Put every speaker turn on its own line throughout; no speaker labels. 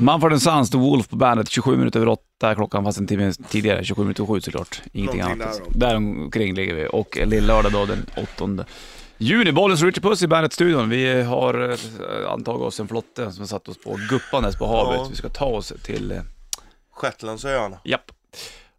Mumford Sons, The Wolf på bandet, 27 minuter över 8 klockan, fast en timme tidigare, 27 minuter över 7 såklart. Ingenting
Någonting
annat.
därom.
Där omkring ligger vi och lillördag då den 8 juni. Bollens Richard Puss i Bandet-studion. Vi har eh, antagit oss en flotte som har satt oss på guppandes på havet.
Ja.
Vi ska ta oss till, eh,
Shetlandsöarna.
japp.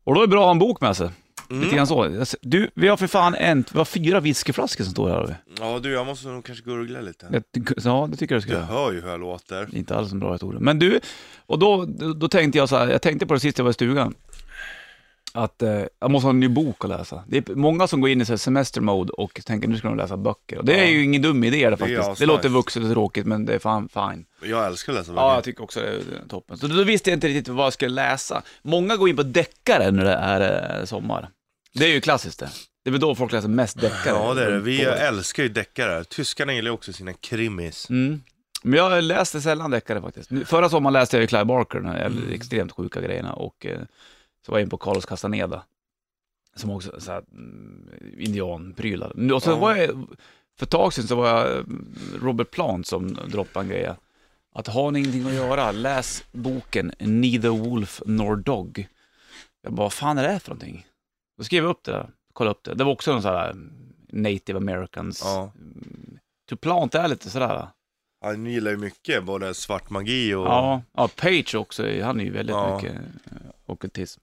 Och då är det bra att ha en bok med sig. Lite grann så. Jag ser- Du, vi har för fan en, vi har fyra whiskyflaskor som står här. har vi.
Ja du, jag måste nog kanske gurgla lite.
Jag tycker- Ja, det tycker jag du ska
Du
göra.
hör ju hur jag låter.
Inte alls en bra historia. Men du, och då, då tänkte jag så här, jag tänkte på det sist jag var i stugan. Att eh, jag måste ha en ny bok att läsa. Det är många som går in i så här semester-mode och tänker nu ska de läsa böcker. Och det är ju ingen dum idé det, faktiskt. Det,
asnice.
låter vuxet och tråkigt men det är fan fine.
Jag älskar att läsa
Ja, jag
böcker.
tycker också det är toppen. Så då visste jag inte riktigt vad jag skulle läsa. Många går in på deckare när det är eh, sommar. Det är ju klassiskt det. Det är väl då folk läser mest deckare.
Ja det är det. Vi älskar ju deckare. Tyskarna gillar ju också sina krimis.
Mm. Men jag läste sällan deckare faktiskt. Nu- Förra sommaren läste jag ju Clive Barker, de
Mm.
här extremt sjuka grejerna, och eh, så var jag in på Carlos Castaneda, som också så här, mm, indianprylar. Nu- Och så
Ja.
var jag, för ett tag sedan så var jag mm, Robert Plant som droppade en grej. Att har ni ingenting att göra, läs boken Neither Wolf Nor Dog. Jag bara, vad fan är det här för någonting? Då skrev jag upp det, där, kollade upp det. Det var också någon sån här mm, native americans.
Ja.
To Plant är lite sådär.
Ja, ni gillar ju mycket, både svart magi och...
Ja, ja Page också, han är ju väldigt
Ja.
mycket okultism.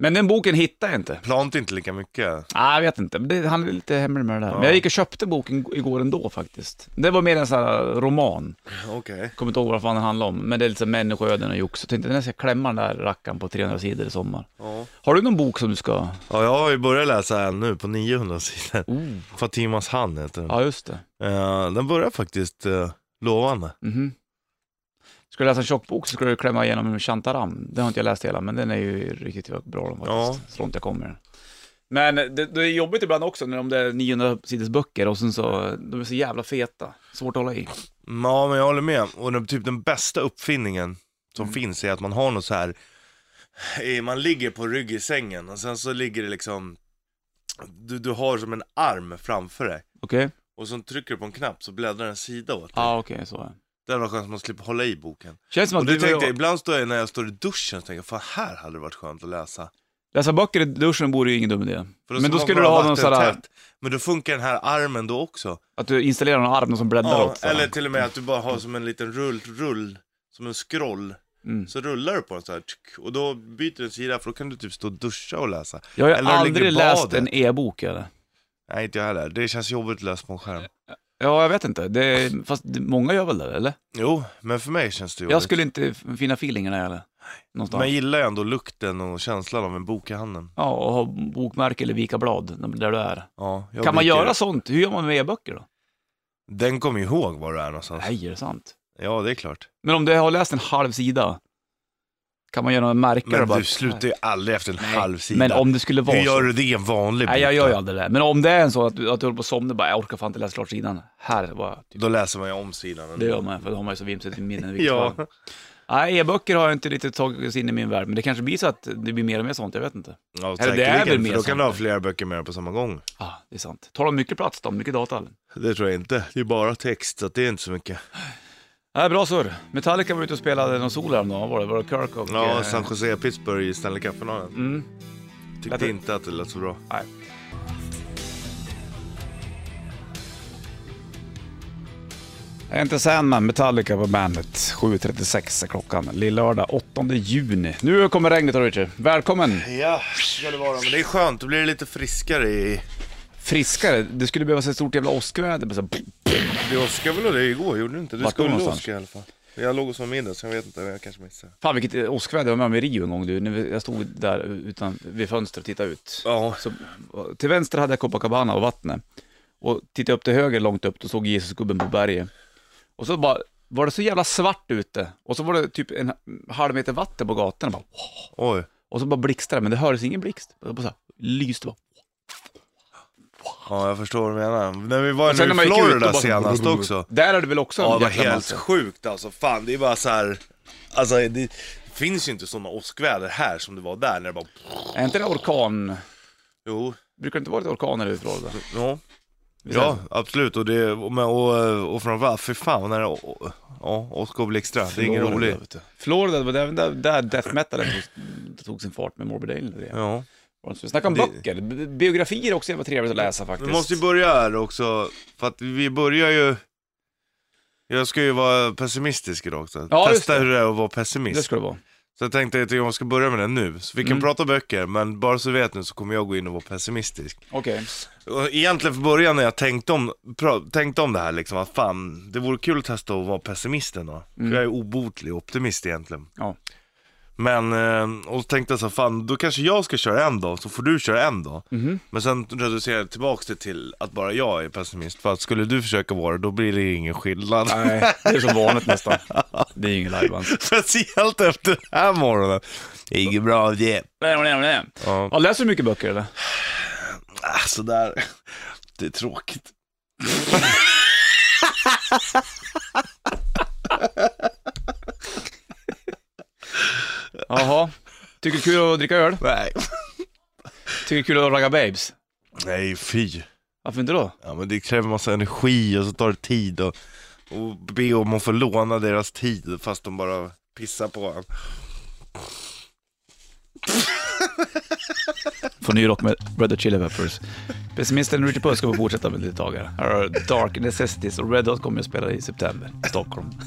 Men den boken hittade jag inte. Nej,
Plant inte lika mycket.
jag vet inte. Men det, han är lite hemlig med det där. Men
Ja.
jag gick och köpte boken igår ändå faktiskt. Det var mer en sån här roman.
Okej.
Kommer inte ihåg vad fan den handlar om. Men det är lite så här människoöden och jox. Jag tänkte den här ska jag klämma den där rackaren på 300 sidor i sommar.
Ja.
Har du någon bok som du ska...
ja, jag har ju börjat läsa en nu på 900 sidor.
Oh.
Fatimas hand heter den.
Ja, just det.
Eh, den börjar faktiskt eh, lovande.
Mhm. Ska du läsa en tjock bok så ska du klämma igenom Shantaram. Den har inte jag läst hela, men den är ju riktigt bra den faktiskt. Så långt jag kommer. Men det, det är jobbigt ibland också när de där 900 sidors böcker och sen så, de är så jävla feta. Svårt att hålla i.
Mm, Ja, men jag håller med. Och den, typ den bästa uppfinningen som
Mm.
finns är att man har något så här, eh, man ligger på rygg i sängen och sen så ligger det liksom, du, du har som en arm framför dig.
Okej?
Och så trycker du på en knapp så bläddrar en sida åt dig.
Ja, okej, så är det.
Det hade varit skönt att man slipper hålla i boken.
Känns som
Och
att
det
du
tänkte jag,
tänkte...
ibland står jag när jag står i duschen och tänker, fan här hade det varit skönt att läsa.
läsa böcker i duschen vore ju ingen dum idé.
För
Men
ska
då
man
skulle du
vara
ha någon sån här,
vattentätt. Men då funkar den här armen då också.
att du installerar någon arm någon som bläddrar
Ja,
åt så här.
eller till och med att du bara har som en liten rull, rull som en scroll.
Mm.
Så rullar du på den så här tsk, och då byter den sida för då kan du typ stå och duscha och läsa.
Jag har ju
eller ligger i
aldrig läst
badet.
en e-bok eller.
Nej, inte jag heller. Det känns jobbigt att läsa på en
Eh.
skärm.
Ja, jag vet inte. Det är, fast det- många gör väl det, eller?
Jo, men för mig känns det jobbigt.
Jag skulle inte f- finna feelingen där eller? Någonstans.
Men jag gillar ju ändå lukten och känslan av en bok i handen.
Ja, och ha bokmärke eller vika blad där du är.
Ja, jag
kan man
brukar-
göra sånt? Hur gör man med e-böcker då?
Den kommer ju ihåg var du är någonstans.
Nej, är det sant?
Ja, det är klart.
Men om du har läst en halv sida, kan man göra några märken? och
Men
bara-
du slutar ju aldrig efter en
Nej,
halv sida.
Men om det skulle vara
Hur gör
så.
du det i en vanlig
Nej,
bok
jag gör ju
då?
aldrig det. Men om det är en så att du, att du håller på att somna bara, jag orkar fan inte läsa klart sidan. Här, bara, typ.
Då läser man ju om sidan. ändå.
Det gör man, för då har man ju så vimsigt i minnen. i vilket
Ja.
fall. Nej, e-böcker har jag inte riktigt tagit sig in i min värld, men det kanske blir så att det blir mer och mer sånt, jag vet inte.
Ja,
Eller det är väl
säkerligen,
mer
för då
sånt
kan du ha
där.
flera böcker med på samma gång.
Ah, det är sant. Tar de mycket plats då? Mycket data? Eller?
Det tror jag inte. Det är bara text, så att det är inte så mycket.
Nej, Äh, bra surr. Metallica var ute och spelade någon sol häromdagen, vad var det? Var det Kirk och...
Ja,
eh,
San Jose Pittsburgh i Stanley Cup-finalen.
Mm.
Tyckte
Lät det-
inte att det lät så bra.
Nej. Inte Sandman, Metallica på bandet. 7.36 är klockan. Lillördag 8 juni. Nu kommer regnet då Richard. Välkommen!
Ja, ska det vara. Men det är skönt, då blir det lite friskare i...
Friskare. Det skulle behövas ett stort jävla åskväder. bara så här-
Du åskade väl och det igår, gjorde du inte? Du
Vart då
skulle
någonstans?
åska i alla fall. Jag låg och sov middag, så jag vet inte, men jag kanske missade.
Fan vilket eh, åskväder jag var med om i Rio en gång du. När vi- Jag stod där utan, vid fönstret och tittade ut.
Ja.
Så, till vänster hade jag Copacabana och vattnet. Och tittade upp till höger långt upp, då såg Jesusgubben på berget. Och så bara, var det så jävla svart ute. Och så var det typ en halv meter vatten på gatan. Och, bara, wow.
Oj.
och så bara blixtrade det, men det hördes ingen blixt. Det bara så här, lyste bara.
Ja, jag förstår vad du menar. När vi var
Och sen
nu
när man
i
gick ut, då
Florida
bara-
senast också.
Där är det väl också
Ja, det var
jäkla
helt
massa.
sjukt alltså. Fan, det är bara så här... Alltså, det finns ju inte sådana åskväder här som det var där, när det bara...
Är inte det orkan?
Jo,
Brukar det inte vara lite orkaner i Florida?
ja.
säger
Ja, absolut. Och, det, och, men- och, och framförallt, fy fan, när det, och, ja, Oskar Blixtra, det är ingen
Florida,
rolig.
vet du. Florida, det var där, där, där death metalen tog- tog sin fart med Morbid Ale. och det.
Ja.
Så Vi snackar om
Det-
böcker, Bi- biografier är också jävla trevligt att läsa faktiskt.
Vi måste ju börja här också, för att vi börjar ju... Jag ska ju vara pessimistisk idag också.
Ja, just
Testa
det.
hur det är att vara pessimist.
Det ska det vara.
Så jag tänkte att jag ska börja med det nu. Så vi kan
Mm.
prata böcker, men bara så du vet nu så kommer jag gå in och vara pessimistisk.
Okej.
Och Egentligen från början när jag tänkte om, pra- tänkte om det här liksom, att fan, det vore kul att testa att vara pessimisten då. För Jag är obotlig optimist egentligen.
Mm. Ja.
Men, eh, och så tänkte jag så här, fan då kanske jag ska köra en dag, så får du köra en dag.
Mhm.
Men sen reducerade jag tillbaks det till att bara jag är pessimist. För att skulle du försöka vara det, då blir det ingen skillnad.
Nej, det är som vanligt nästan. Det är ju ingen lajban.
Speciellt efter den här morgonen. Inget bra av det. Ja.
Ja, läser du mycket böcker eller?
Ah, sådär. Det är tråkigt.
Jaha. Tycker det är kul att dricka öl?
Nej.
Tycker det är kul att ragga babes?
Nej, fy.
Varför inte då?
Ja men det kräver massa energi och så tar det tid och, och be om att få låna deras tid fast de bara pissar på en.
Får ny rock med Red Hot Chili Peppers. Pessimisten Richard Puss ska få fortsätta med lite tag här. Här har du Dark Necessities och Red Hot kommer att spela i september i Stockholm.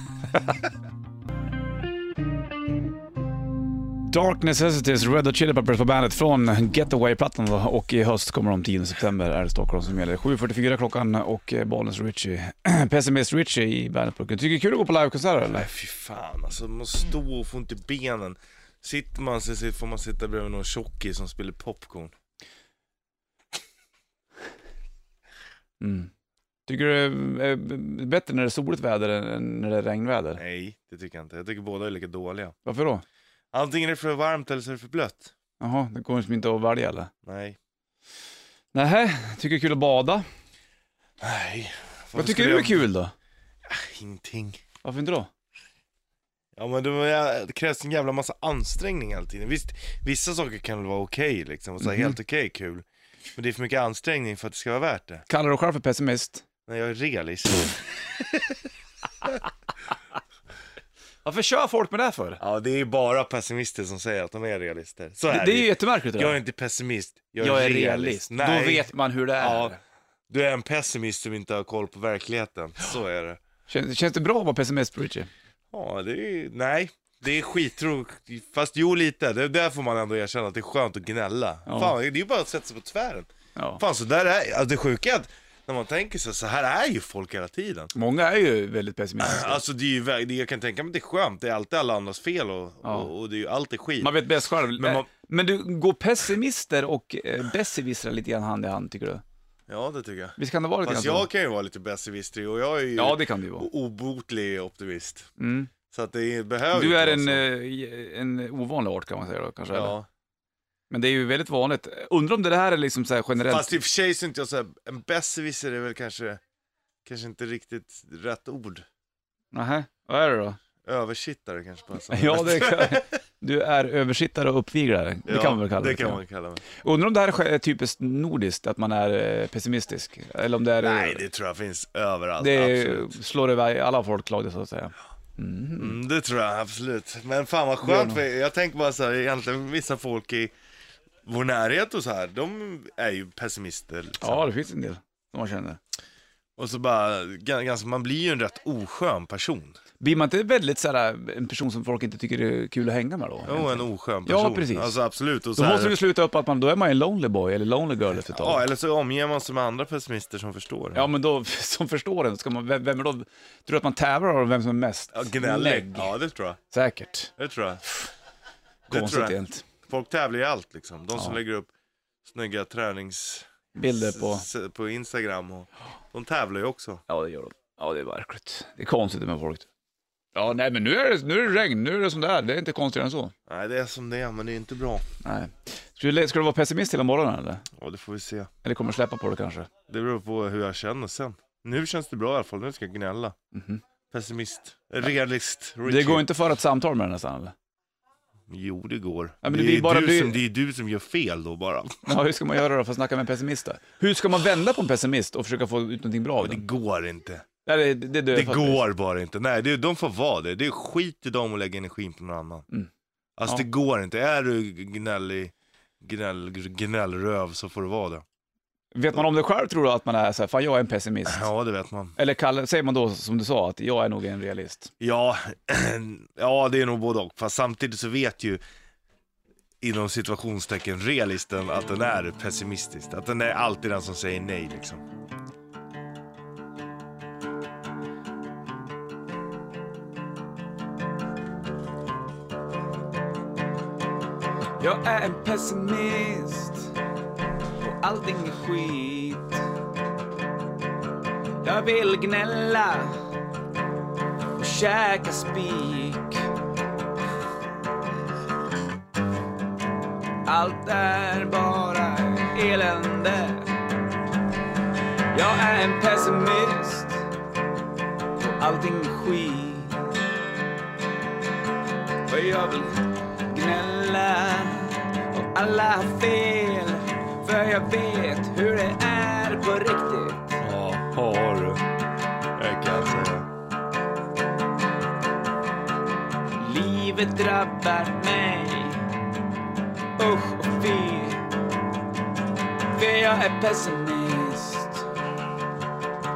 Dark Necessities, Red Hot Chili Peppers på bandet från Getaway-plattan då. och i höst kommer de 10 september är det Stockholm som gäller. 7.44 klockan och eh, Balens Richie, Pessimist Richie i bandetburken. Tycker det är kul att gå på livekonserter eller?
Nej fy fan alltså, man står och får inte benen. Sitter man så så får man sitta bredvid någon tjockis som spelar popcorn.
Mm. Tycker du det är eh, bättre när det är soligt väder än när det är regnväder?
Nej, det tycker jag inte. Jag tycker båda är lika dåliga.
Varför då?
Antingen är det för varmt eller så är det för blött.
Jaha, det går liksom inte att välja eller?
Nej.
Nej, tycker det är kul att bada.
Nej.
Vad tycker du är kul då?
Ingenting.
Varför inte då?
Ja men det, var, det krävs en jävla massa ansträngning hela tiden. Visst, vissa saker kan väl vara okej liksom, och så här,
Mhm.
helt okej kul. Men det är för mycket ansträngning för att det ska vara värt det.
Kallar du dig själv för pessimist?
När jag är realist.
Mm. Varför kör folk med det här för?
ja det är bara pessimister som säger att de är realister. Så
Det,
är
det är ju jättemärkligt det
Jag är
där.
inte pessimist, jag
Jag
är,
är
realist.
realist.
Nej,
Då vet man hur det är.
Ja. du är en pessimist som inte har koll på verkligheten. Så är det.
Känns, känns det bra att vara pessimist, Richie?
Ja, det är, nej. Det är skittråkigt, fast jo lite. Det, där får man ändå erkänna att det är skönt att gnälla.
Ja.
Fan, det är ju bara att sätta sig på tvären.
Ja.
Fan, så där är, alltså det sjuka är att när man tänker sig så här är ju folk hela tiden.
Många är ju väldigt pessimistiska.
Alltså det är ju, vä- det, jag kan tänka mig att det är skönt, det är alltid alla andras fel och,
Ja.
och, och det är ju alltid skit.
Man vet bäst själv. Eh, Men,
Men man-
du, går pessimister och eh, besserwissrar lite grann hand i hand, tycker du?
Ja, det tycker jag.
Visst kan det vara lite
Fast
grann så?
jag kan ju vara lite besserwisserig och jag är ju
Ja, det kan det ju vara.
obotlig optimist.
Mm.
Så att det behöver
Du
inte
är
vara
en,
så.
eh, en ovanlig art kan man säga då, kanske? eller?
Ja.
Men det är ju väldigt vanligt. Undrar om det här är liksom så här generellt.
Fast i och för sig så är inte jag såhär, en besserwisser är väl kanske, kanske inte riktigt rätt ord.
Nähä, vad är det då?
Översittare kanske passar.
Ja, det är, du är översittare och uppviglare. Det kan man väl kalla det.
det. kan man kalla mig.
Undrar om det här är typiskt nordiskt, att man är eh, pessimistisk? Eller om det är...
Nej, det tror jag finns överallt.
det är-
absolut.
slår över alla folklag det så att säga.
Mm, det tror jag absolut. Men fan vad
Det är
skönt,
nog-
för jag tänker bara så här, egentligen vissa folk i vår närhet och så här, de är ju pessimister. Liksom.
Ja, det finns en del som man känner.
Och så bara, ga- ganska, man blir ju en rätt oskön person.
Blir man inte väldigt så här, en person som folk inte tycker är kul att hänga med då?
Jo, en oskön
Ja,
person.
precis.
Alltså absolut. Och så
Då
här,
måste vi sluta upp att man, då är man en lonely boy eller lonely girl efter ett tag.
Ja, eller så omger man sig med andra pessimister som förstår.
Ja, men då, som förstår den, ska man, vem, vem är då, tror du att man tävlar om vem som är mest
Ja, gnällig. Ja, det tror jag.
Säkert.
Det tror jag. Det tror
Konstigt
jag.
egentligen.
Folk tävlar i allt liksom. De som
Ja.
lägger upp snygga tränings...
Bilder på...
s- på Instagram och... De tävlar ju också.
Ja, det gör de. Ja, det är verkligt. Det är konstigt med folk. Ja, nej, men nu är det, nu är det regn, nu är det som det är. Det är inte konstigare än så.
Nej, det är som det är, men det är inte bra.
Nej. Ska du, ska du vara pessimist hela morgonen eller?
Ja, det får vi se.
Eller kommer du släppa på det kanske?
Det beror på hur jag känner sen. Nu känns det bra i alla fall, nu ska jag gnälla.
Mhm.
Pessimist, realist, Richie.
Det går inte för ett samtal med den nästan eller?
Jo, det går.
Ja, men
det,
det
är
blir bara
du
blir-
Som, det är du som gör fel då bara.
Ja, hur ska man göra då för att snacka med en pessimist då? Hur ska man vända på en pessimist och försöka få ut någonting bra av
Det
den?
går inte.
Nej, det, det, dör
Det
jag faktiskt.
går bara inte. Nej, det, de får vara det. Det är skit i dem att lägga energin på någon annan.
Mm.
Alltså
Ja.
det går inte. Är du gnällig, gnäll, gnällröv så får du vara det.
Vet man om det själv tror du att man är så här, fan jag är en pessimist?
Ja, det vet man.
Eller kallar, säger man då som du sa, att jag är nog en realist?
Ja, ja det är nog både och. Fast samtidigt så vet ju inom situationstecken realisten att den är pessimistisk. Att den är alltid den som säger nej liksom.
Jag är en pessimist och allting är skit. Jag vill gnälla och käka spik. Allt är bara elände. Jag är en pessimist och allting är skit. Och jag vill gnälla och alla har fel För jag vet hur det är på riktigt
Ja, har du. Jag kan säga.
Livet drabbar mig Usch och fy För jag är pessimist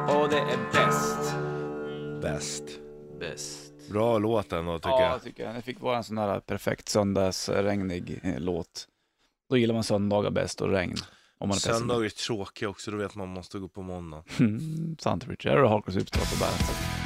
Och det är bäst
Bäst.
Bäst
Bra låt ändå tycker
Ja,
jag.
jag tycker jag. Det fick vara en sån där perfekt söndagsregnig eh, låt. Då gillar man söndagar bäst och regn. Om man är pessimist.
Söndagar är tråkiga också, då vet man man måste gå på måndag.
Mm, sant Richard. Här har du Harkos Hipstad på bandet.